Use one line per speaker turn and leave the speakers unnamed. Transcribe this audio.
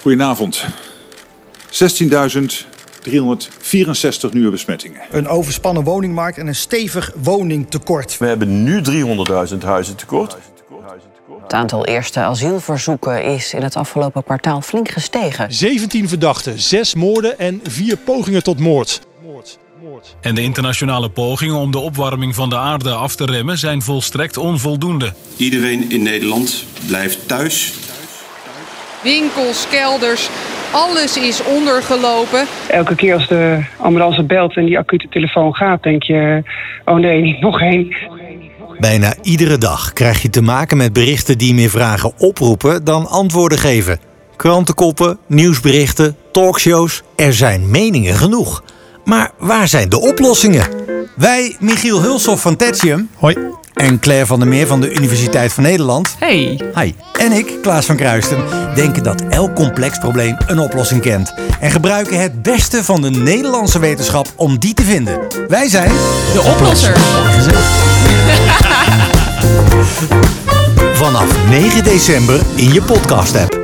Goedenavond. 16.364 nieuwe besmettingen.
Een overspannen woningmarkt en een stevig woningtekort.
We hebben nu 300.000 huizen tekort.
Het aantal eerste asielverzoeken is in het afgelopen kwartaal flink gestegen.
17 verdachten, 6 moorden en 4 pogingen tot moord. Moord, moord.
En de internationale pogingen om de opwarming van de aarde af te remmen zijn volstrekt onvoldoende.
Iedereen in Nederland blijft thuis.
Winkels, kelders, alles is ondergelopen.
Elke keer als de ambulance belt en die acute telefoon gaat, denk je: oh nee, niet nog één.
Bijna iedere dag krijg je te maken met berichten die meer vragen oproepen dan antwoorden geven. Krantenkoppen, nieuwsberichten, talkshows. Er zijn meningen genoeg. Maar waar zijn de oplossingen? Wij, Michiel Hulshoff van Tetium.
Hoi.
En Claire van der Meer van de Universiteit van Nederland.
Hey.
Hi. En ik, Klaas van Kruisten, denken dat elk complex probleem een oplossing kent. En gebruiken het beste van de Nederlandse wetenschap om die te vinden. Wij zijn...
De oplosser.
Vanaf 9 december in je podcast-app.